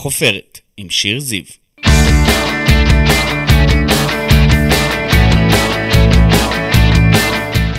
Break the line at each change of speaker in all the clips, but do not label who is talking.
החופרת, עם שיר זיו.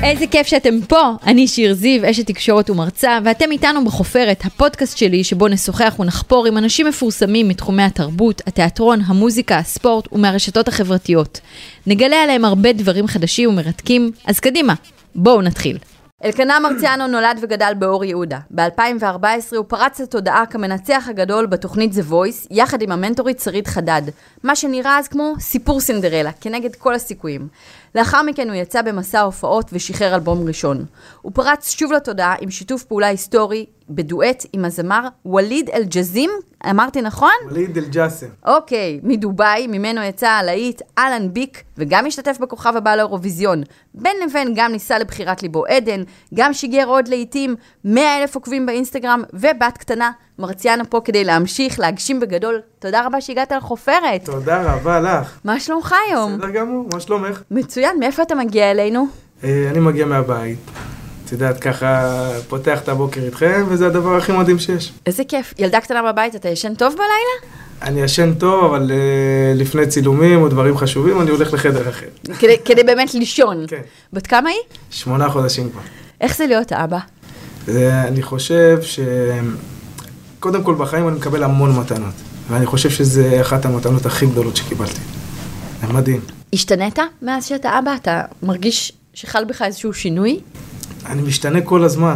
איזה כיף שאתם פה, אני שיר זיו, אשת תקשורת ומרצה, ואתם איתנו בחופרת, הפודקאסט שלי שבו נשוחח ונחפור עם אנשים מפורסמים מתחומי התרבות, התיאטרון, המוזיקה, הספורט ומהרשתות החברתיות. נגלה עליהם הרבה דברים חדשים ומרתקים, אז קדימה, בואו נתחיל. אלקנה מרציאנו נולד וגדל באור יהודה. ב-2014 הוא פרץ לתודעה כמנצח הגדול בתוכנית The Voice, יחד עם המנטורית שרית חדד. מה שנראה אז כמו סיפור סינדרלה, כנגד כל הסיכויים. לאחר מכן הוא יצא במסע הופעות ושחרר אלבום ראשון. הוא פרץ שוב לתודעה עם שיתוף פעולה היסטורי בדואט עם הזמר ווליד אל-ג'זים, אמרתי נכון?
וליד אל-ג'אסם.
אוקיי, מדובאי, ממנו יצא הלהיט אהלן ביק, וגם השתתף בכוכב הבא לאירוויזיון. בין לבין גם ניסה לבחירת ליבו עדן, גם שיגר עוד לעיתים 100 אלף עוקבים באינסטגרם, ובת קטנה, מרציאנה פה כדי להמשיך להגשים בגדול. תודה רבה שהגעת לחופרת.
תודה רבה לך.
מה שלומך היום?
בסדר גמור, מה שלומך?
מצוין, מאיפה אתה מגיע אלינו?
אה, אני מגיע מהבית. את יודעת, ככה פותח את הבוקר איתכם, וזה הדבר הכי מדהים שיש.
איזה כיף. ילדה קטנה בבית, אתה ישן טוב בלילה?
אני ישן טוב, אבל אה, לפני צילומים או דברים חשובים, אני הולך לחדר אחר.
כדי, כדי באמת לישון.
כן.
בת כמה היא?
שמונה חודשים כבר.
איך זה להיות אבא?
זה- אני חושב ש... קודם כל בחיים אני מקבל המון מתנות, ואני חושב שזה אחת המתנות הכי גדולות שקיבלתי. זה מדהים.
השתנית מאז שאתה אבא? אתה מרגיש שחל בך איזשהו שינוי?
אני משתנה כל הזמן.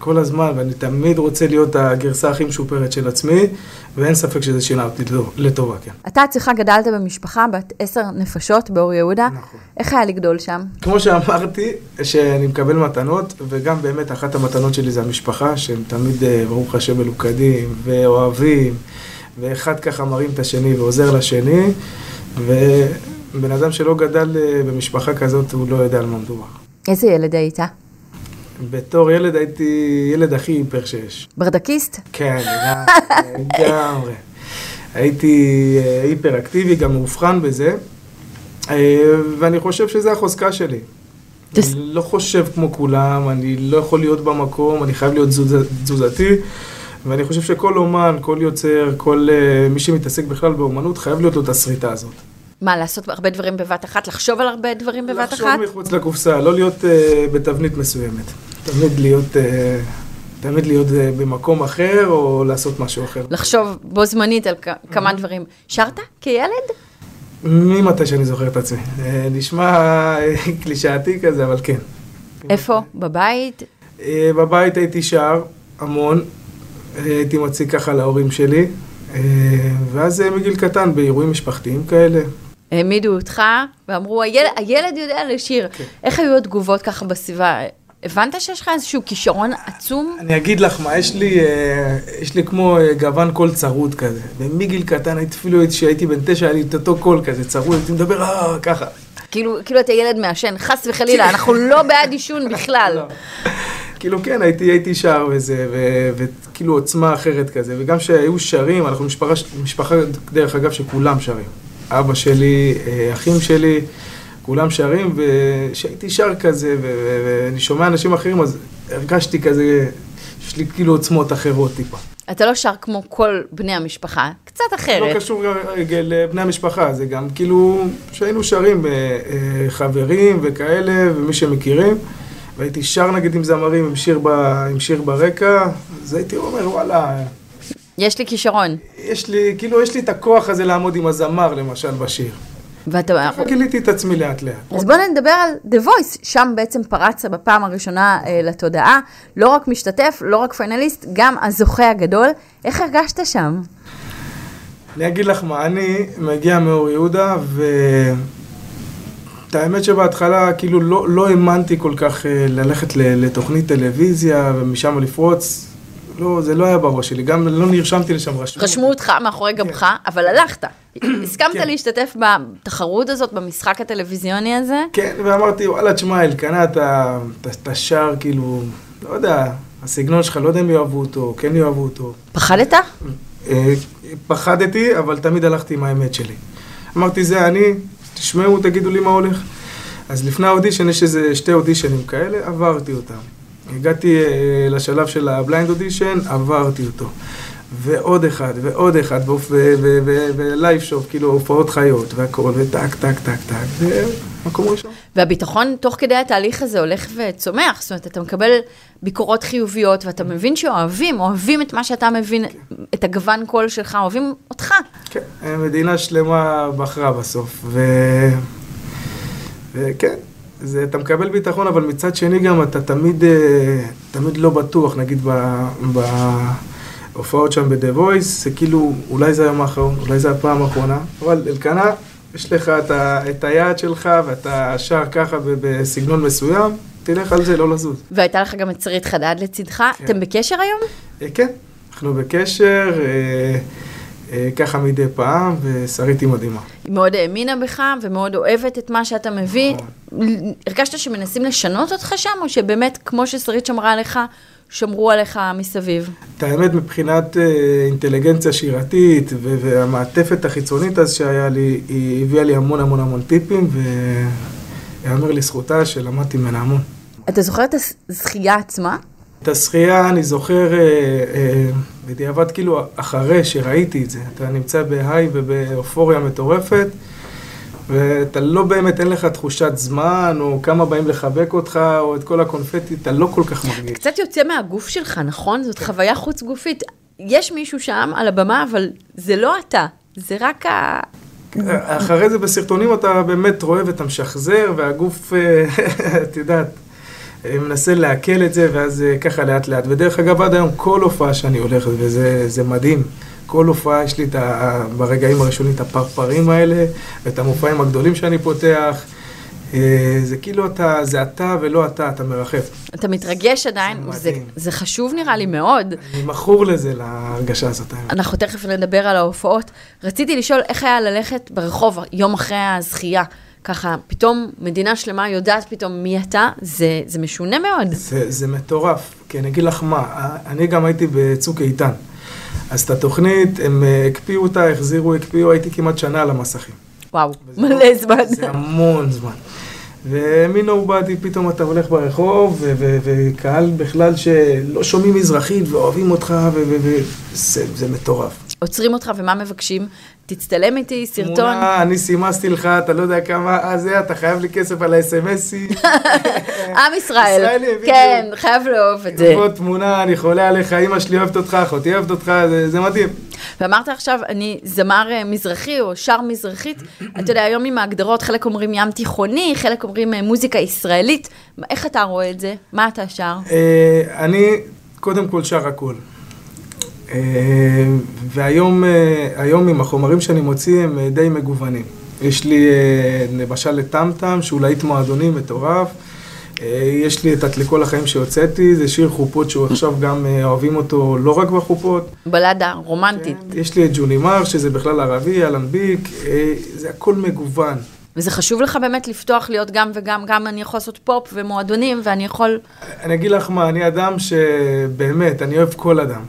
כל הזמן, ואני תמיד רוצה להיות הגרסה הכי משופרת של עצמי, ואין ספק שזה שינה אותי לטוב- לטובה, כן.
אתה עצמך גדלת במשפחה בת עשר נפשות באור יהודה.
נכון.
איך היה לגדול שם?
כמו שאמרתי, שאני מקבל מתנות, וגם באמת אחת המתנות שלי זה המשפחה, שהם תמיד, אה, ברוך השם, מלוכדים, ואוהבים, ואחד ככה מרים את השני ועוזר לשני, ובן אדם שלא גדל אה, במשפחה כזאת, הוא לא יודע על מה מדובר.
איזה ילד היית?
בתור ילד הייתי ילד הכי היפר שיש.
ברדקיסט?
כן, לגמרי. הייתי אה, היפראקטיבי, גם מאובחן בזה, אה, ואני חושב שזו החוזקה שלי. אני
תס-
לא חושב כמו כולם, אני לא יכול להיות במקום, אני חייב להיות תזוז- תזוזתי, ואני חושב שכל אומן, כל יוצר, כל אה, מי שמתעסק בכלל באומנות, חייב להיות לו את הסריטה הזאת.
מה, לעשות הרבה דברים בבת אחת? לחשוב על הרבה דברים בבת
לחשוב
אחת?
מחוץ לקופסה, לא להיות אה, בתבנית מסוימת. תמיד להיות, אה, תמיד להיות אה, במקום אחר, או לעשות משהו אחר.
לחשוב בו זמנית על כ- כמה דברים. שרת כילד?
ממתי שאני זוכר את עצמי. אה, נשמע אה, קלישאתי כזה, אבל כן.
איפה? בבית?
אה, בבית הייתי שר המון, אה, הייתי מציג ככה להורים שלי, אה, ואז אה, מגיל קטן באירועים משפחתיים כאלה.
העמידו אותך ואמרו, "הילד- הילד יודע לשיר.
כן.
איך היו התגובות ככה בסביבה? הבנת שיש לך איזשהו כישרון עצום?
אני אגיד לך מה, יש לי, אה, יש לי כמו אה, גוון קול צרוד כזה. ומגיל קטן, הייתי אפילו כשהייתי בן תשע, היה לי את אותו קול כזה צרוד, הייתי מדבר אה, ככה.
כאילו, כאילו אתה ילד מעשן, חס וחלילה, אנחנו לא בעד עישון בכלל.
לא. כאילו כן, הייתי, הייתי שר וזה, ו- וכאילו עוצמה אחרת כזה, וגם שהיו שרים, אנחנו משפחה, משפחה דרך אגב שכולם שרים. אבא שלי, אה, אחים שלי, כולם שרים, וכשהייתי שר כזה, ו- ו- ואני שומע אנשים אחרים, אז הרגשתי כזה, יש לי כאילו עוצמות אחרות טיפה.
אתה לא שר כמו כל בני המשפחה, קצת
לא
אחרת.
קשור רגע לבני המשפחה, זה גם כאילו, שהיינו שרים אה, אה, חברים וכאלה, ומי שמכירים, והייתי שר נגיד עם זמרים, עם שיר, ב, עם שיר ברקע, אז הייתי אומר, וואלה,
יש לי כישרון.
יש לי, כאילו, יש לי את הכוח הזה לעמוד עם הזמר, למשל, בשיר.
ואתה...
גיליתי את עצמי לאט לאט.
אז בואו נדבר על The Voice, שם בעצם פרצת בפעם הראשונה אה, לתודעה, לא רק משתתף, לא רק פיינליסט, גם הזוכה הגדול. איך הרגשת שם?
אני אגיד לך מה, אני מגיע מאור יהודה, ו... את האמת שבהתחלה כאילו לא, לא האמנתי כל כך אה, ללכת ל- לתוכנית טלוויזיה ומשם לפרוץ. לא, זה לא היה בראש שלי, גם לא נרשמתי לשם רשמו.
רשמו אותך מאחורי גבך, אבל הלכת. הסכמת
כן.
להשתתף בתחרות הזאת, במשחק הטלוויזיוני הזה?
כן, ואמרתי, וואלה, תשמע, אלקנה, אתה, אתה, אתה שר, כאילו, לא יודע, הסגנון שלך, לא יודע אם יאהבו אותו, כן יאהבו אותו.
פחדת?
אה, פחדתי, אבל תמיד הלכתי עם האמת שלי. אמרתי, זה אני, תשמעו, תגידו לי מה הולך. אז לפני האודישן יש איזה שתי אודישנים כאלה, עברתי אותם. הגעתי אה, לשלב של הבליינד אודישן, עברתי אותו. ועוד אחד, ועוד אחד, ולייב שופ, כאילו הופעות חיות, והכל, וטק, טק, טק, טק, ומקום ראשון.
והביטחון תוך כדי התהליך הזה הולך וצומח, זאת אומרת, אתה מקבל ביקורות חיוביות, ואתה מבין שאוהבים, אוהבים את מה שאתה מבין, את הגוון קול שלך, אוהבים אותך.
כן, מדינה שלמה בחרה בסוף, ו... וכן, זה, אתה מקבל ביטחון, אבל מצד שני גם אתה תמיד, תמיד לא בטוח, נגיד ב... ב... הופעות שם ב-The Voice, זה כאילו, אולי זה היום האחרון, אולי זה הפעם האחרונה, אבל אלקנה, יש לך את, ה, את היעד שלך ואתה שר ככה בסגנון מסוים, תלך על זה, לא לזוז.
והייתה לך גם את שרית חדד לצדך, כן. אתם בקשר היום?
כן, אנחנו בקשר, אה, אה, ככה מדי פעם, ושרית היא מדהימה.
היא מאוד האמינה בך ומאוד אוהבת את מה שאתה מביא. נכון. הרגשת שמנסים לשנות אותך שם, או שבאמת, כמו ששרית שמרה עליך, שמרו עליך מסביב?
את האמת, מבחינת אה, אינטליגנציה שירתית והמעטפת החיצונית אז שהיה לי, היא הביאה לי המון המון המון טיפים, ויאמר לזכותה שלמדתי ממנה המון.
אתה זוכר את הזכייה עצמה?
את הזכייה אני זוכר אה, אה, בדיעבד, כאילו, אחרי שראיתי את זה. אתה נמצא בהיי ובאופוריה מטורפת. ואתה לא באמת, אין לך תחושת זמן, או כמה באים לחבק אותך, או את כל הקונפטי, אתה לא כל כך מרגיש.
אתה קצת יוצא מהגוף שלך, נכון? זאת חוויה חוץ גופית. יש מישהו שם על הבמה, אבל זה לא אתה, זה רק ה...
אחרי זה בסרטונים אתה באמת רואה ואתה משחזר, והגוף, אה, את יודעת, אה, מנסה לעכל את זה, ואז אה, ככה לאט לאט. ודרך אגב, עד היום כל הופעה שאני הולך, וזה מדהים. כל הופעה יש לי את ה... ברגעים הראשונים את הפרפרים האלה, את המופעים הגדולים שאני פותח. זה כאילו אתה, זה אתה ולא אתה, אתה מרחף.
אתה מתרגש עדיין, זה, זה, זה חשוב נראה לי מאוד.
אני מכור לזה, להרגשה הזאת.
אנחנו תכף נדבר על ההופעות. רציתי לשאול איך היה ללכת ברחוב יום אחרי הזכייה. ככה, פתאום מדינה שלמה יודעת פתאום מי אתה, זה, זה משונה מאוד.
זה, זה מטורף, כי אני אגיד לך מה, אני גם הייתי בצוק איתן. אז את התוכנית, הם אה, הקפיאו אותה, החזירו, הקפיאו, הייתי כמעט שנה על המסכים.
וואו, מלא זמן.
זה המון זמן. ומנובדי פתאום אתה הולך ברחוב, וקהל בכלל שלא שומעים מזרחית ואוהבים אותך, וזה מטורף.
עוצרים אותך ומה מבקשים? תצטלם איתי, סרטון.
תמונה, אני סימסתי לך, אתה לא יודע כמה, אה זה, אתה חייב לי כסף על האס.אם.אסי.
עם ישראל, כן, חייב לאהוב את זה.
פה תמונה, אני חולה עליך, אמא שלי אוהבת אותך, אחותי אוהבת אותך, זה מדהים.
ואמרת עכשיו, אני זמר אה, מזרחי או שר מזרחית, אתה יודע, היום עם ההגדרות, חלק אומרים ים תיכוני, חלק אומרים אה, מוזיקה ישראלית. איך אתה רואה את זה? מה אתה שר?
אה, אני קודם כל שר הכול. Uh, והיום uh, היום עם החומרים שאני מוציא הם uh, די מגוונים. יש לי אה, למשל את טמטם, שהוא להיט מועדונים מטורף. אה, יש לי את את לכל החיים שהוצאתי, זה שיר חופות שהוא עכשיו גם אה, אוהבים אותו לא רק בחופות.
בלדה רומנטית.
כן, יש לי את ג'ונימר, שזה בכלל ערבי, אלנביק, זה הכל מגוון.
וזה חשוב לך באמת לפתוח להיות גם וגם, גם אני יכול לעשות פופ ומועדונים ואני יכול...
אני אגיד לך מה, אני אדם שבאמת, אני אוהב כל אדם.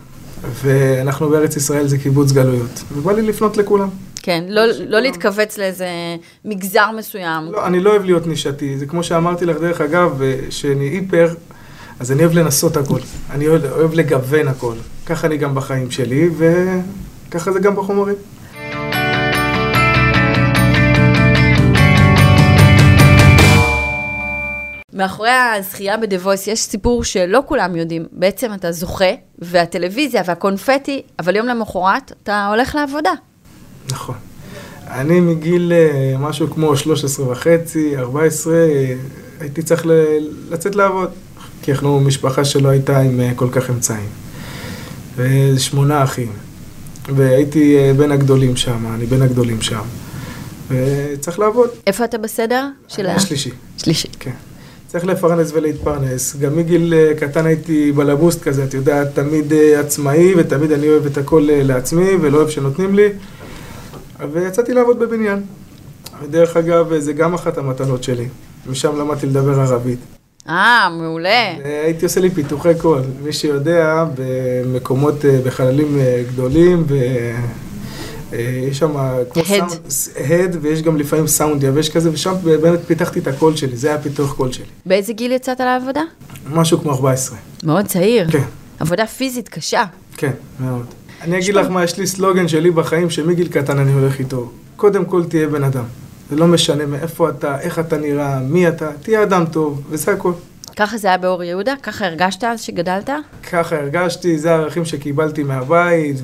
ואנחנו בארץ ישראל זה קיבוץ גלויות, ובא לי לפנות לכולם.
כן, לא, לא להתכווץ לאיזה מגזר מסוים.
לא, אני לא אוהב להיות נישתי, זה כמו שאמרתי לך, דרך אגב, שאני היפר, אז אני אוהב לנסות הכל, אני אוהב, אוהב לגוון הכל. ככה אני גם בחיים שלי, וככה זה גם בחומרים.
מאחורי הזכייה בדה וויס יש סיפור שלא כולם יודעים. בעצם אתה זוכה, והטלוויזיה והקונפטי, אבל יום למחרת אתה הולך לעבודה.
נכון. אני מגיל אה, משהו כמו 13 וחצי, 14, הייתי צריך לצאת לעבוד, כי אנחנו משפחה שלא הייתה עם אה, כל כך אמצעים. ושמונה אחים. והייתי אה, בין הגדולים שם, אני בין הגדולים שם. וצריך לעבוד.
איפה אתה בסדר?
של ה... השלישי.
שלישי.
כן. צריך לפרנס ולהתפרנס. גם מגיל אה, קטן הייתי בלבוסט כזה, את יודעת, תמיד אה, עצמאי, ותמיד אני אוהב את הכל אה, לעצמי, ולא אוהב שנותנים לי. ויצאתי לעבוד בבניין. ודרך אגב, אה, זה גם אחת המתנות שלי. משם למדתי לדבר ערבית.
אה, מעולה.
הייתי עושה לי פיתוחי קול. מי שיודע, במקומות, אה, בחללים גדולים, ו... אה, יש שם כמו
הד.
הד, ויש גם לפעמים סאונד יבש כזה, ושם באמת פיתחתי את הקול שלי, זה היה פיתוח קול שלי.
באיזה גיל יצאת לעבודה?
משהו כמו 14.
מאוד צעיר.
כן.
עבודה פיזית קשה.
כן, מאוד. אני אגיד לך מה, יש לי סלוגן שלי בחיים, שמגיל קטן אני הולך איתו. קודם כל תהיה בן אדם. זה לא משנה מאיפה אתה, איך אתה נראה, מי אתה, תהיה אדם טוב, וזה הכל.
ככה זה היה באור יהודה? ככה הרגשת אז שגדלת?
ככה הרגשתי, זה הערכים שקיבלתי מהבית,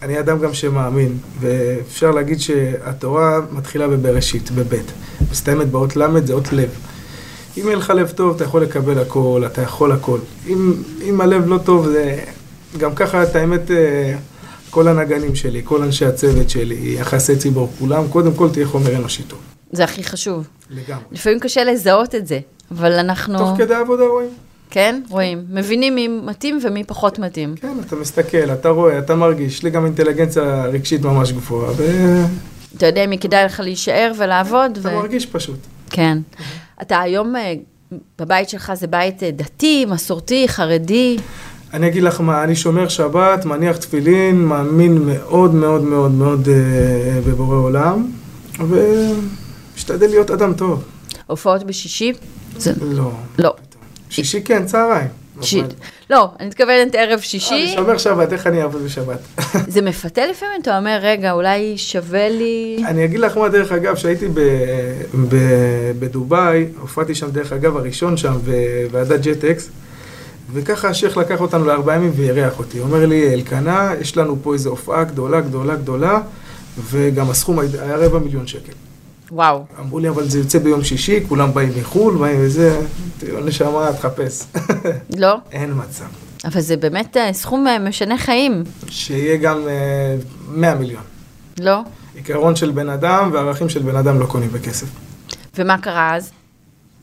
ואני אדם גם שמאמין. ואפשר להגיד שהתורה מתחילה בבראשית, בבית. מסתיימת באות ל', זה אות לב. אם יהיה לך לב טוב, אתה יכול לקבל הכל, אתה יכול הכל. אם, אם הלב לא טוב, זה... גם ככה, את האמת, אה, כל הנגנים שלי, כל אנשי הצוות שלי, יחסי ציבור, כולם, קודם כל תהיה חומר אנושי טוב.
זה הכי חשוב.
לגמרי.
לפעמים קשה לזהות את זה, אבל אנחנו...
תוך כדי עבודה רואים.
כן, רואים. מבינים מי מתאים ומי פחות מתאים.
כן, אתה מסתכל, אתה רואה, אתה מרגיש. יש לי גם אינטליגנציה רגשית ממש גבוהה, ואתה
אתה יודע מי כדאי לך להישאר ולעבוד. ו-
מרגיש פשוט.
כן. אתה היום, אה, בבית שלך זה בית אה, דתי, מסורתי, חרדי.
אני אגיד לך מה, אני שומר שבת, מניח תפילין, מאמין מאוד מאוד מאוד מאוד אה, בבורא עולם, ומשתדל להיות אדם טוב.
הופעות בשישי? זה...
לא.
לא.
שישי כן, צהריים.
שי...
אבל-
לא, אני מתכוונת ערב
אני
שישי.
שומר שבת, איך אני אעבוד בשבת?
זה מפתה לפעמים, אתה אומר, רגע, אולי שווה לי...
אני אגיד לך מה, דרך אגב, שהייתי ב, ב, בדובאי, הופעתי שם, דרך אגב, הראשון שם, בוועדת ג'ט-אקס, וככה השייח לקח אותנו לארבעה ימים ואירח אותי. אומר לי, אלקנה, יש לנו פה איזו הופעה גדולה, גדולה, גדולה, וגם הסכום היה רבע מיליון שקל.
וואו.
אמרו לי, אבל זה יוצא ביום שישי, כולם באים מחו"ל, באים וזה, תראו, נשמה, תחפש.
לא?
אין מצב.
אבל זה באמת אה, סכום אה, משנה חיים,
שיהיה גם אה, 100 מיליון.
לא?
עיקרון של בן אדם וערכים של בן אדם לא קונים בכסף.
ומה קרה אז?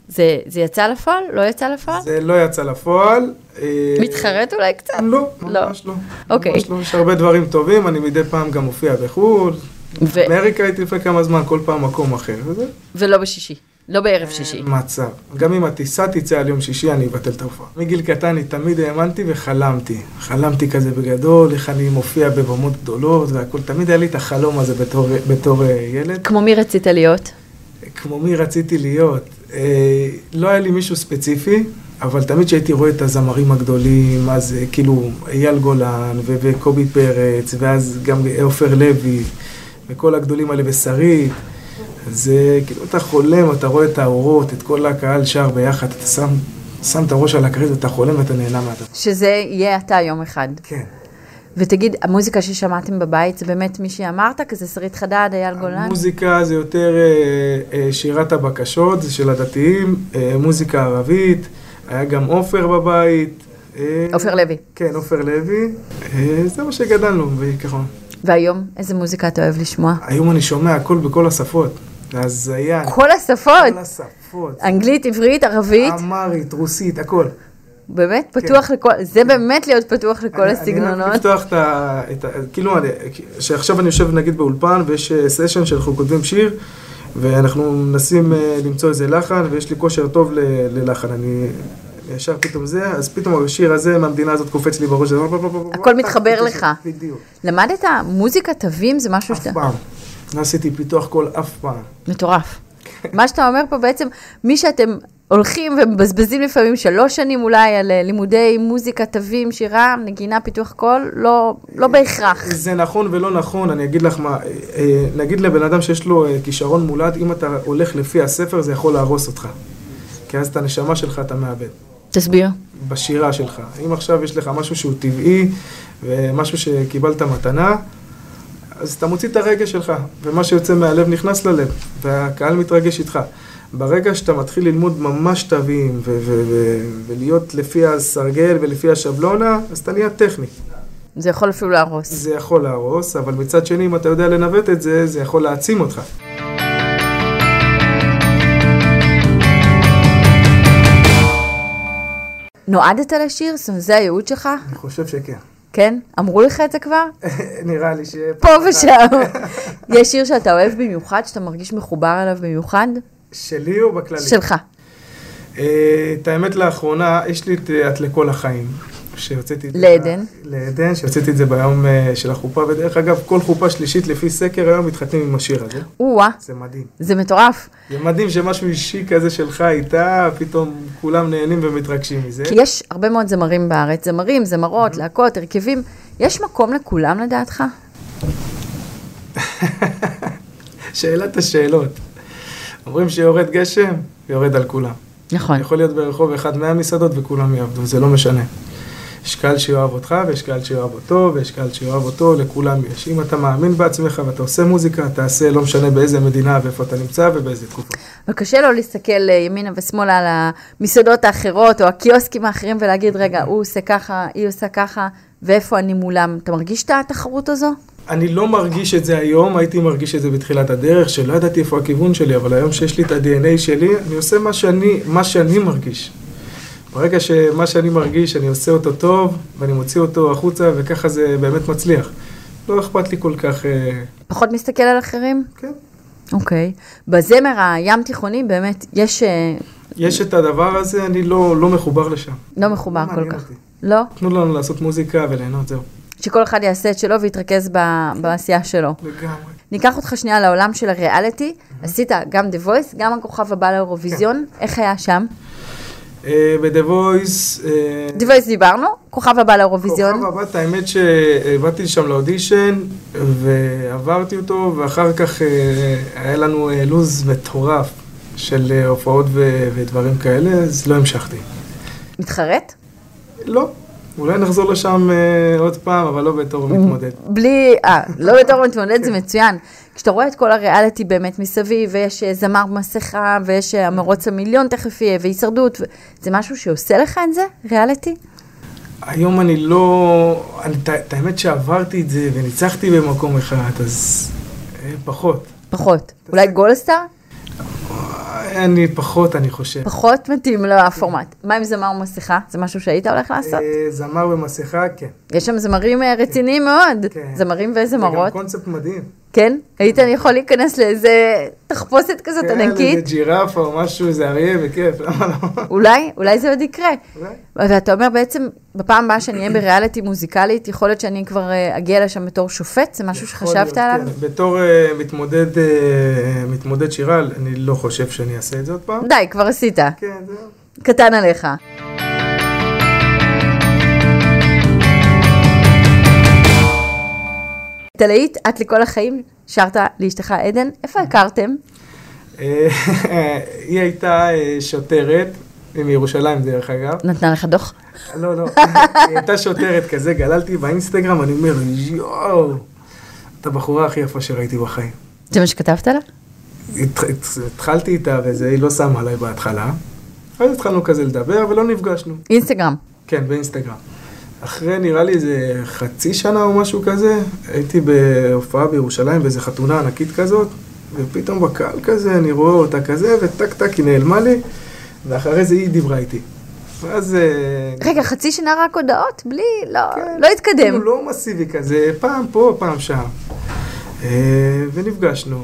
זה, זה יצא לפועל? לא יצא לפועל?
זה לא יצא לפועל. אה,
מתחרט אולי קצת?
לא,
לא.
ממש לא.
אוקיי.
ממש לא. יש הרבה דברים טובים, אני מדי פעם גם מופיע בחו"ל.
ו-
אמריקה הייתי לפני כמה זמן, כל פעם מקום אחר, וזה
ולא בשישי, לא
אה,
בערב שישי.
מצב. גם אם הטיסה תצא על יום שישי, אני אבטל את ההופעה. מגיל קטן אני תמיד האמנתי וחלמתי. חלמתי כזה בגדול, איך אני מופיע בבמות גדולות והכול. תמיד היה לי את החלום הזה בתור, בתור אה, ילד.
כמו מי רצית להיות?
כמו מי רציתי להיות. אה, לא היה לי מישהו ספציפי, אבל תמיד כשהייתי רואה את הזמרים הגדולים, אז אה, כאילו אייל גולן ו- וקובי פרץ, ואז גם עופר לוי, וכל הגדולים האלה ושרית, אז אה, כאילו אתה חולם, אתה רואה את האורות, את כל הקהל שר ביחד, אתה שם, שם את הראש על הכרית ואתה חולם ואתה נהנה מהדבר.
שזה יהיה אתה יום אחד.
כן.
ותגיד, המוזיקה ששמעתם בבית זה באמת מי שאמרת? כזה שרית חדד, אייל גולן?
מוזיקה זה יותר אה, אה, שירת הבקשות זה של הדתיים, אה, מוזיקה ערבית, היה גם עופר בבית. אה,
עופר לוי.
כן, עופר לוי. אה, זה מה שגדלנו בעיקרון.
והיום, איזה מוזיקה אתה אוהב לשמוע?
היום אני שומע הכל בכל השפות. זה הזיה.
כל השפות!
כל השפות.
אנגלית, עברית, ערבית,
אמרית, רוסית, הכל.
באמת פתוח לכל, זה באמת להיות פתוח לכל
כן. אני- אני אוהב
הסגנונות.
לפתוח את ה... את ה כאילו, אני, שעכשיו אני יושב נגיד באולפן ויש אה, סשן שאנחנו כותבים שיר ואנחנו מנסים אה, למצוא איזה לחן ויש לי כושר טוב ל, ללחן. אני ישר פתאום זה, אז פתאום השיר הזה מהמדינה הזאת קופץ לי בראש. זה-
הכל מתחבר לך.
בדיוק.
למדת מוזיקה תווים זה משהו
אף
שאתה...
פעם. לא עשיתי פיתוח קול אף פעם.
מטורף.
כן.
מה שאתה אומר פה בעצם, מי שאתם הולכים ומבזבזים לפעמים שלוש שנים אולי על אה, לימודי מוזיקה, תווים, שירה, נגינה, פיתוח קול, לא, לא בהכרח.
זה נכון ולא נכון, אני אגיד לך מה, אה, אה, נגיד לבן אדם שיש לו אה, כישרון מולד, אם אתה הולך לפי הספר זה יכול להרוס אותך. כי אז את הנשמה שלך אתה מאבד.
תסביר.
בשירה שלך. אם עכשיו יש לך משהו שהוא טבעי ומשהו שקיבלת מתנה, אז אתה מוציא את הרגש שלך, ומה שיוצא מהלב נכנס ללב, והקהל מתרגש איתך. ברגע שאתה מתחיל ללמוד ממש תווים ו- ו- ו- ולהיות לפי הסרגל ולפי השבלונה, אז אתה נהיה טכני.
זה יכול אפילו להרוס.
זה יכול להרוס, אבל מצד שני, אם אתה יודע לנווט את זה, זה יכול להעצים אותך.
נועדת לשיר? זאת אומרת, זה הייעוד שלך?
אני חושב שכן.
כן? אמרו לך את זה כבר?
נראה לי ש...
פה ושם. יש שיר שאתה אוהב במיוחד, שאתה מרגיש מחובר אליו במיוחד?
שלי או בכללי?
שלך.
אה, את האמת לאחרונה, יש לי את אה, את לכל החיים, שהוצאתי את זה.
לעדן.
לעדן, שהוצאתי את זה ביום אה, של החופה, ודרך אגב, כל חופה שלישית לפי סקר היום מתחתנים עם השיר הזה.
או-אה,
זה מדהים.
זה מטורף.
זה מדהים שמשהו אישי כזה שלך איתה, פתאום כולם נהנים ומתרגשים מזה.
כי יש הרבה מאוד זמרים בארץ, זמרים,
Mm-hmm.
זמרות, להקות, הרכבים. יש מקום לכולם לדעתך?
שאלת השאלות. אומרים שיורד גשם, יורד על כולם.
נכון.
יכול להיות ברחוב אחד מהמסעדות וכולם יעבדו, זה לא משנה. יש קהל שיאהב אותך, ויש קהל שאוהב אותו, ויש קהל שאוהב אותו, לכולם יש. אם אתה מאמין בעצמך ואתה עושה מוזיקה, תעשה לא משנה באיזה מדינה ואיפה אתה נמצא ובאיזה תקופה.
אבל קשה לא להסתכל אה, ימינה ושמאלה על המסעדות האחרות או הקיוסקים האחרים ולהגיד,
Mm-hmm.
רגע, הוא עושה ככה, היא עושה ככה, ואיפה אני מולם. אתה מרגיש את התחרות הזו?
אני לא מרגיש את זה היום, הייתי מרגיש את זה בתחילת הדרך, שלא ידעתי איפה הכיוון שלי, אבל היום שיש לי את ה-DNA שלי, אני עושה מה שאני, מה שאני מרגיש. ברגע שמה שאני מרגיש, אני עושה אותו טוב, ואני מוציא אותו החוצה, וככה זה באמת מצליח. לא אכפת לי כל כך, אה,
פחות מסתכל על אחרים?
כן.
אוקיי. בזמר הים תיכוני באמת יש... אה,
יש את הדבר הזה, אני לא, לא מחובר לשם.
לא מחובר
לא
כל
מעניין
כך.
אותי.
לא?
תנו לנו לעשות מוזיקה וליהנות, זהו.
שכל אחד יעשה את שלו ויתרכז ב- בעשייה שלו.
לגמרי.
ניקח אותך שנייה לעולם של הריאליטי. עשית גם The Voice, גם הכוכב הבא לאירוויזיון.
כן.
איך היה שם?
אה, ב-The Voice... אה,
The Voice דיברנו, כוכב הבא לאירוויזיון.
כוכב הבת, האמת שבאתי לשם לאודישן, ועברתי אותו, ואחר כך אה, היה לנו אה, לו"ז מטורף של אה, הופעות ו- ודברים כאלה, אז לא המשכתי.
מתחרט?
לא, אולי נחזור לשם אה, עוד פעם, אבל לא בתור
אוקיי.
מתמודד. כן.
בלי, אה, לא בתור מתמודד זה מצוין. כשאתה רואה את כל הריאליטי באמת מסביב, ויש אה, זמר במסכה, ויש אה, המרוץ המיליון תכף יהיה, והישרדות, ו- זה משהו שעושה לך את זה? ריאליטי?
היום אני לא... אני, את ה- את האמת שעברתי את זה וניצחתי במקום אחד, אז אה, פחות.
פחות. אולי גולדסטאר?
אה, אני פחות, אני חושב.
פחות מתאים לפורמט. מה עם זמר ומסכה? זה משהו שהיית הולך לעשות?
אה, זמר במסכה, כן.
יש שם זמרים אה, רציניים מאוד.
כן.
זמרים
זה גם
וזמרות.
קונספט מדהים.
כן? היית יכול להיכנס לאיזה תחפושת כזאת
כן,
ענקית?
איזה ג'ירפה או משהו, איזה אריה בכיף, למה לא?
אולי, אולי זה עוד יקרה.
אולי.
ואתה אומר בעצם, בפעם הבאה שאני אהיה בריאליטי מוזיקלית, יכול להיות שאני כבר אה, אגיע לשם בתור שופט? זה משהו
יכול
שחשבת
להיות,
עליו?
כן. בתור אה, מתמודד, אה, מתמודד שירה, אני לא חושב שאני אעשה את זה עוד פעם.
די, כבר עשית.
כן, זהו.
קטן עליך. תלאית, את לכל החיים, שרת לאשתך עדן, איפה הכרתם?
אה, היא הייתה אה, שוטרת, היא מירושלים דרך אגב.
נתנה לך דוח?
לא, לא, היא הייתה שוטרת כזה, גללתי באינסטגרם, אני אומר, יואו, את הבחורה הכי יפה שראיתי בחיים.
זה מה שכתבת לה?
הת- הת- התחלתי איתה וזה, היא לא שמה עליי בהתחלה. אז התחלנו כזה לדבר ולא נפגשנו.
אינסטגרם.
כן, באינסטגרם. אחרי נראה לי איזה חצי שנה או משהו כזה, הייתי בהופעה בירושלים באיזה חתונה ענקית כזאת, ופתאום בקהל כזה אני רואה אותה כזה, וטק טק היא נעלמה לי, ואחרי זה היא דיברה איתי. ואז... אה,
רגע, חצי שנה רק הודעות? בלי, לא,
כן,
לא התקדם.
כאילו לא מסיבי כזה, פעם פה, פעם שם. אה, ונפגשנו,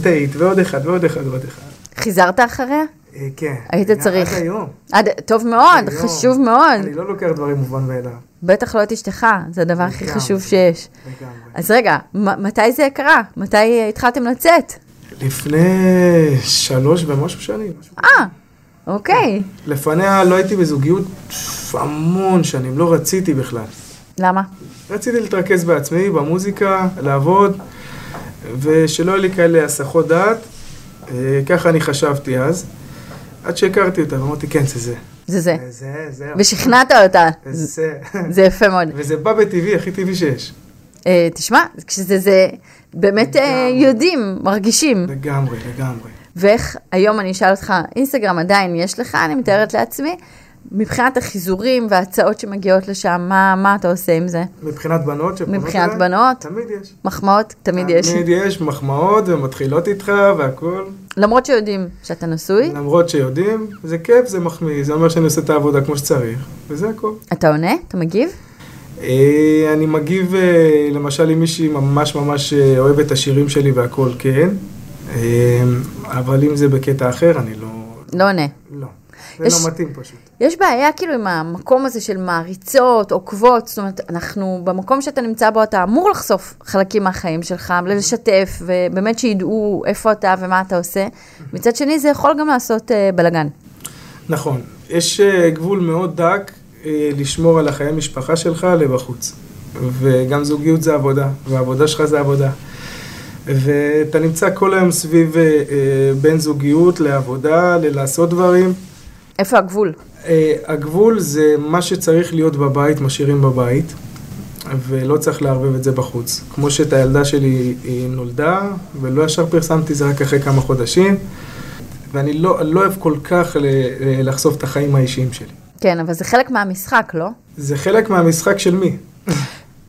דייט, ועוד אחד, ועוד אחד, ועוד אחד.
חיזרת אחריה?
אה, כן.
היית
אני-
צריך.
עד היום.
עד, טוב מאוד,
היום.
חשוב מאוד.
אני לא לוקח דברים מובן מאליו.
בטח לא את אשתך, זה הדבר הכי
לגמרי.
חשוב שיש.
לגמרי.
אז רגע, מ- מתי זה קרה? מתי אה, התחלתם לצאת?
לפני שלוש ומשהו שנים. משהו כזה.
אה, אוקיי.
לפניה לא הייתי בזוגיות המון שנים, לא רציתי בכלל.
למה?
רציתי להתרכז בעצמי, במוזיקה, לעבוד, ושלא יהיו לי כאלה הסחות דעת. אה, ככה אני חשבתי אז. עד שהכרתי אותה, ואמרתי, כן, זה זה.
זה זה.
זה זה, זה.
ושכנעת אותה.
זה זה.
זה יפה מאוד.
וזה בא בטבעי, הכי טבעי שיש.
אה, תשמע, כשזה זה, באמת אה,
לגמרי.
יודעים, מרגישים.
לגמרי, לגמרי.
ואיך היום אני אשאל אותך, אינסטגרם עדיין יש לך, אני מתארת לעצמי, מבחינת החיזורים וההצעות שמגיעות לשם, מה, מה אתה עושה עם זה?
מבחינת בנות שפונות
מבחינת
אליי,
בנות?
תמיד יש.
מחמאות? תמיד יש.
תמיד יש, מחמאות, ומתחילות איתך, והכול.
למרות שיודעים שאתה נשוי,
למרות שיודעים, זה כיף, זה מחמיא, זה אומר שאני עושה את העבודה כמו שצריך, וזה הכל.
אתה עונה? אתה מגיב?
אה, אני מגיב, אה, למשל, אם מישהי ממש ממש אה, אוהב את השירים שלי והכל, כן, אה, אבל אם זה בקטע אחר, אני לא...
לא עונה.
לא. זה
יש-
לא מתאים פשוט.
יש בעיה כאילו עם המקום הזה של מעריצות, עוקבות, זאת אומרת, אנחנו, במקום שאתה נמצא בו אתה אמור לחשוף חלקים מהחיים שלך, לשתף, ובאמת שידעו איפה אתה ומה אתה עושה. מצד שני, זה יכול גם לעשות אה, בלאגן.
נכון, יש אה, גבול מאוד דק אה, לשמור על החיי משפחה שלך לבחוץ. וגם זוגיות זה עבודה, והעבודה שלך זה עבודה. ואתה נמצא כל היום סביב אה, אה, בין זוגיות לעבודה, ללעשות דברים.
איפה הגבול?
אה, הגבול זה מה שצריך להיות בבית, משאירים בבית, ולא צריך לערבב את זה בחוץ. כמו שאת הילדה שלי היא נולדה, ולא ישר פרסמתי זה רק אחרי כמה חודשים, ואני לא, לא אוהב כל כך ל, אה, לחשוף את החיים האישיים שלי.
כן, אבל זה חלק מהמשחק, לא?
זה חלק מהמשחק של מי?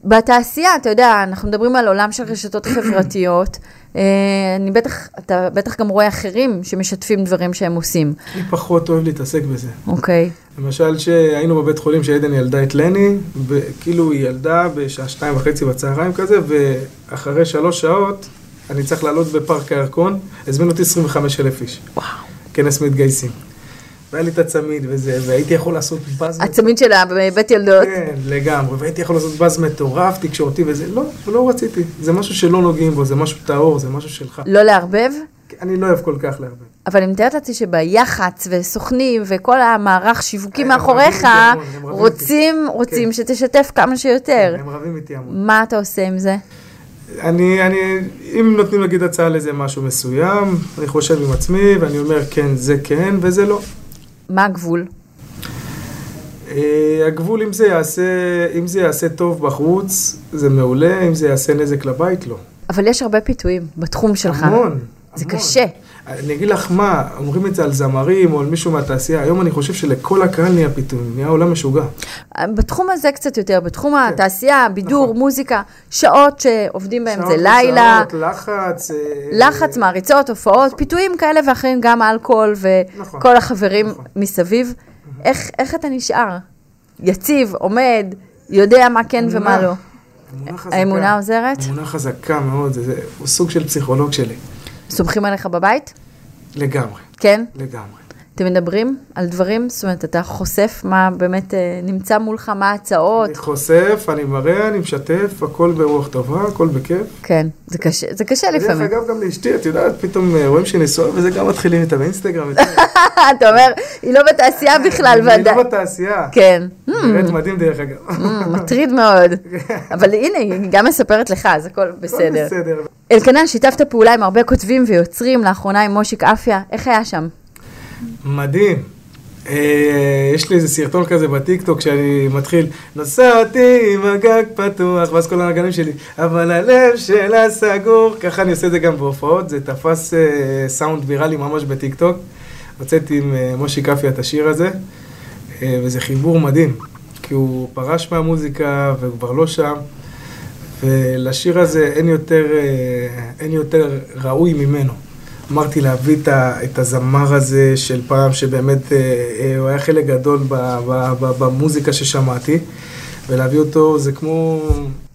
בתעשייה, אתה יודע, אנחנו מדברים על עולם של רשתות חברתיות. אה, אני בטח, אתה בטח גם רואה אחרים שמשתפים דברים שהם עושים.
אני פחות אוהב להתעסק בזה.
אוקיי.
למשל, שהיינו בבית חולים שעדן ילדה את לני, כאילו היא ילדה בשעה שתיים וחצי בצהריים כזה, ואחרי שלוש שעות אני צריך לעלות בפארק הירקון, הזמינו אותי 25 אלף איש. וואו. כנס מתגייסים. והיה לי את הצמיד וזה, והייתי יכול לעשות באז...
הצמיד שלה בבית ילדות.
כן, לגמרי, והייתי יכול לעשות באז מטורף, תקשורתי וזה, לא, לא רציתי. זה משהו שלא נוגעים בו, זה משהו טהור, זה משהו שלך.
לא לערבב.
אני לא אוהב כל כך להרבה.
אבל אני מתארת לעצמי שביח"צ וסוכנים וכל המערך שיווקי
אה, הם
מאחוריך,
רבים איתי המון, הם רבים
רוצים, רוצים שתשתף כמה שיותר.
הם רבים איתי המון.
מה אתה עושה עם זה?
אני, אני, אם נותנים נגיד הצעה לאיזה משהו מסוים, אני חושב עם עצמי ואני אומר כן, זה כן וזה לא.
מה הגבול?
אה, הגבול אם זה יעשה, אם זה יעשה טוב בחוץ, זה מעולה, אם זה יעשה נזק לבית, לא.
אבל יש הרבה פיתויים בתחום שלך.
המון.
נכון. זה
המון.
קשה.
אני אגיד לך מה, אומרים את זה על זמרים או על מישהו מהתעשייה, היום אני חושב שלכל הקהל נהיה פתאום, נהיה עולם משוגע.
בתחום הזה קצת יותר, בתחום
כן.
התעשייה, בידור, מוזיקה, שעות שעובדים בהן זה
נכון. שעות,
לילה,
שעות, לחץ. אה,
לחץ, מעריצות, הופעות, פיתויים כאלה ואחרים, גם אלכוהול
נכון,
וכל החברים
נכון.
מסביב. איך- איך אתה נשאר? יציב, עומד, יודע מה כן ומה
אמונה.
לא.
אמונה חזקה.
האמונה עוזרת?
אמונה חזקה מאוד, זה- זה הוא סוג של פסיכולוג שלי,
סומכים עליך בבית?
לגמרי,
כן?
לגמרי.
אתם מדברים על דברים? זאת אומרת, אתה חושף מה באמת אה, נמצא מולך, מה ההצעות?
אני חושף, אני מראה, אני משתף, הכל ברוח טובה, הכל בכיף.
כן, זה קשה, זה קשה
דרך
לפעמים.
אגב, גם לאשתי, את יודעת, פתאום אה, רואים שהיא נשואה וזה, גם מתחילים איתה באינסטגרם. איתה.
אתה אומר, היא לא בתעשייה בכלל,
אני
ועדיין.
לא בתעשייה.
כן.
נראית מדהים דרך אגב.
Mm, מטריד מאוד. אבל הנה, היא גם מספרת לך, אז הכל בסדר.
הכל בסדר.
אלקנה, שיתפת פעולה עם הרבה כותבים ויוצרים, לאחרונה עם מושיק אפיה, איך היה שם?
מדהים. אה, יש לי איזה סרטון כזה בטיקטוק שאני מתחיל, נוסע אותי עם הגג פתוח, ואז כל הנגנים שלי, אבל הלב שלה סגור, ככה אני עושה את זה גם בהופעות, זה תפס אה, סאונד ויראלי ממש בטיקטוק. הוצאתי עם אה, מושיק אפי את השיר הזה, אה, וזה חיבור מדהים, כי הוא פרש מהמוזיקה והוא כבר לא שם, ולשיר הזה אין יותר, אה, אין יותר ראוי ממנו. אמרתי להביא את, ה, את הזמר הזה של פעם, שבאמת אה, אה, הוא היה חלק גדול ב, ב, ב, במוזיקה ששמעתי, ולהביא אותו זה כמו,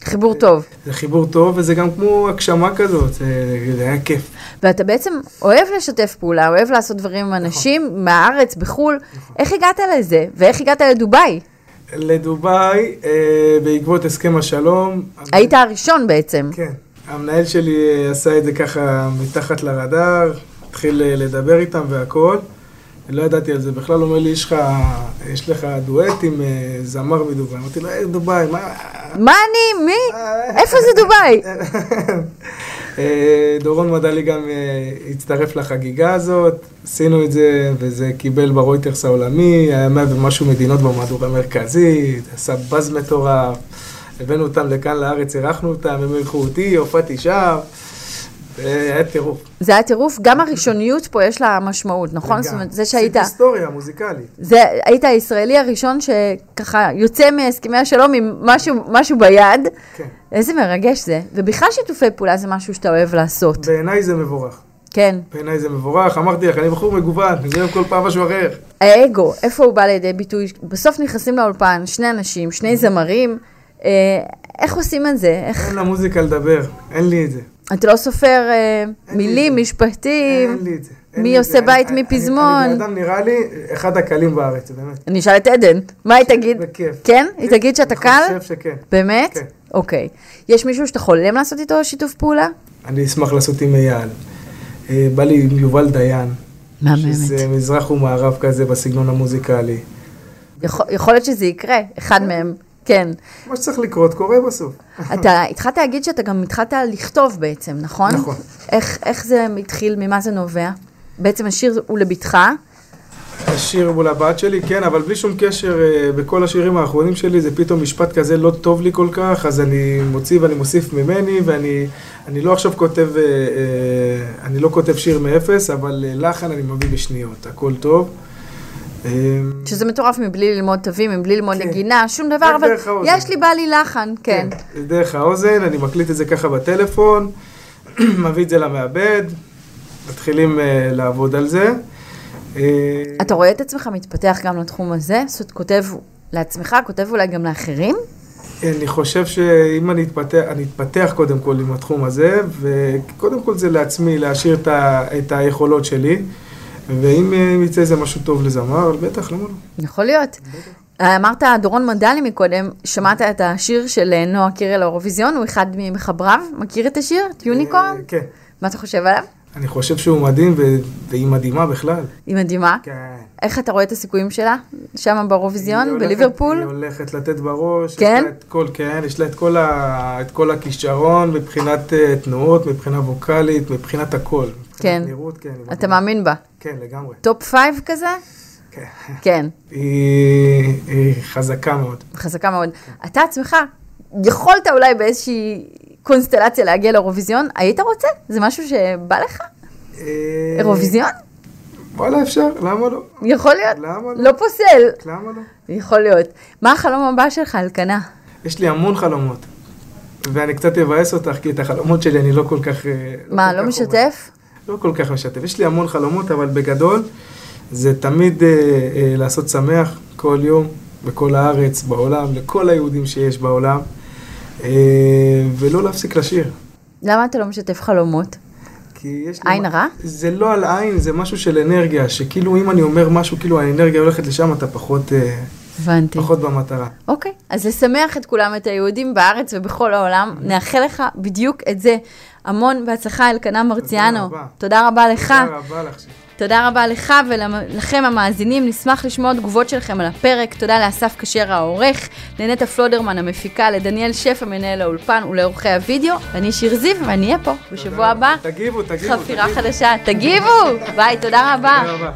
חיבור טוב.
זה חיבור טוב וזה גם כמו הגשמה כזאת, זה, זה היה כיף.
ואתה בעצם אוהב לשתף פעולה, אוהב לעשות דברים
נכון.
עם אנשים מהארץ, בחו"ל. איך הגעת לזה? ואיך הגעת לדובאי?
לדובאי, אה, בעקבות הסכם השלום.
היית הראשון בעצם.
כן. המנהל שלי אה, עשה את זה ככה מתחת לרדאר, התחיל אה, לדבר איתם והכול. לא ידעתי על זה בכלל, הוא אומר לי, "יש לך- אה, יש לך דואט עם אה, זמר מדובאי. אמרתי לו, "אה, דובאי, מה...
מה אני? מי? איפה זה דובאי?
אה, דורון מדלי גם אה, הצטרף לחגיגה הזאת, עשינו את זה, וזה קיבל ברויטרס העולמי, היה מאה ומשהו מדינות במהדורה המרכזית, עשה באז מטורף, הבאנו אותם לכאן לארץ, אירחנו אותם, הם אירחו אותי, הופעתי שם, אה, היה טירוף.
זה היה טירוף, גם הראשוניות פה יש לה משמעות, נכון?
לגמרי.
זאת אומרת, זה שהיית...
עשיתי היסטוריה מוזיקלית.
זה, היית הישראלי הראשון שככה יוצא מהסכמי השלום עם משהו, משהו ביד.
כן.
איזה מרגש זה. ובכלל שיתופי פעולה זה משהו שאתה אוהב לעשות.
בעיניי זה מבורך.
כן.
בעיניי זה מבורך, אמרתי לך, אני בחור מגוון, אני אוהב כל פעם משהו אחר.
האגו, איפה הוא בא לידי ביטוי? בסוף נכנסים לאולפן שני אנשים, שני זמרים. אה, איך עושים את זה? איך...
אין למוזיקה לדבר, אין לי את זה.
אתה לא סופר אה,
לי
מילים,
את זה.
משפטים.
אין לי את זה. אין
מי
לי-
עושה
אני-
בית
אני-
מפזמון.
אני בן אדם נראה לי אחד הקלים בארץ, באמת.
אני אשאל את עדן, מה היא תגיד?
בכיף.
כן? היא תגיד שאתה קל?
אני חושב שכן.
באמת?
כן.
אוקיי. יש מישהו שאתה חולם לעשות איתו שיתוף פעולה?
אני אשמח לעשות עם אייל. אה, בא לי עם יובל דיין.
מהממת.
שזה מזרח ומערב כזה בסגנון המוזיקלי.
יכול- יכול להיות שזה יקרה, אחד מהם, כן.
מה שצריך לקרות קורה בסוף.
אתה התחלת להגיד שאתה גם התחלת לכתוב בעצם, נכון?
נכון.
איך- איך זה התחיל, ממה זה נובע? בעצם השיר הוא לבתך,
השיר מול הבת שלי, כן, אבל בלי שום קשר, אה, בכל השירים האחרונים שלי זה פתאום משפט כזה לא טוב לי כל כך, אז אני מוציא ואני מוסיף ממני, ואני אני לא עכשיו כותב, אה, אה, אני לא כותב שיר מאפס, אבל אה, לחן אני מביא בשניות, הכל טוב. אה,
שזה מטורף מבלי ללמוד תווים, מבלי ללמוד
כן.
נגינה, שום דבר,
רק
אבל
דרך האוזן.
יש לי בא לי לחן, כן.
זה דרך האוזן, אני מקליט את זה ככה בטלפון, מביא את זה למעבד, מתחילים אה, לעבוד על זה. אה,
אתה רואה את עצמך מתפתח גם לתחום הזה? זאת אומרת, כותב לעצמך, כותב אולי גם לאחרים?
אני חושב שאם אני אתפתח, אני אתפתח קודם כל עם התחום הזה, וקודם כל זה לעצמי, להשאיר את, ה, את היכולות שלי, ואם אה, יצא איזה משהו טוב לזמר, בטח, למה לא?
יכול להיות. אה, אמרת דורון מדלי מקודם, שמעת את השיר של אה, נועה קירל האירוויזיון, הוא אחד ממחבריו, מכיר את השיר? את יוניקורן?
אה, כן.
מה אתה חושב עליו?
אני חושב שהוא מדהים, ו... והיא מדהימה בכלל.
היא מדהימה.
כן.
איך אתה רואה את הסיכויים שלה? שם באירוויזיון, בליברפול?
היא הולכת לתת בראש. יש
כן?
לה את כל, כן, יש לה את כל, ה, את כל הכישרון מבחינת אה, תנועות, מבחינה ווקאלית, מבחינת הכל. מבחינת
כן.
נראות, כן. היא
אתה
מדהימה.
מאמין בה.
כן, לגמרי.
טופ פייב כזה?
כן.
כן,
היא, היא אה, חזקה מאוד.
חזקה מאוד. אתה עצמך, יכולת אולי באיזושהי קונסטלציה להגיע לאירוויזיון? היית רוצה? זה משהו שבא לך?
אה,
אירוויזיון?
וואלה, אפשר, למה לא?
יכול להיות.
למה לא?
לא פוסל.
למה לא?
יכול להיות. מה החלום הבא שלך, אלקנה?
יש לי המון חלומות. ואני קצת אבאס אותך, כי את החלומות שלי אני לא כל כך... אה,
מה,
כל
לא
כך
משתף?
אומר. לא כל כך משתף. יש לי המון חלומות, אבל בגדול, זה תמיד אה, אה, לעשות שמח כל יום, בכל הארץ, בעולם, לכל היהודים שיש בעולם, אה, ולא להפסיק לשיר.
למה אתה לא משתף חלומות?
כי יש לי...
עין הרע?
זה לא על עין, זה משהו של אנרגיה, שכאילו אם אני אומר משהו, כאילו האנרגיה הולכת לשם, אתה פחות, אה,
אוקיי. הבנתי.
פחות במטרה.
אוקיי, אז לשמח את כולם, את היהודים בארץ ובכל העולם, נאחל לך בדיוק את זה. המון בהצלחה, אלקנה מרציאנו.
רבה.
תודה רבה לך.
תודה רבה לך.
תודה רבה לך ולכם המאזינים, נשמח לשמוע תגובות שלכם על הפרק. תודה לאסף כשר העורך, לנטע פלודרמן המפיקה, לדניאל שפע מנהל האולפן ולעורכי הוידאו. אני שיר זיו ואני אהיה פה בשבוע הבא.
תגיבו, תגיבו.
חפירה
תגיבו.
חדשה. תגיבו! ביי, תודה רבה.
תודה רבה.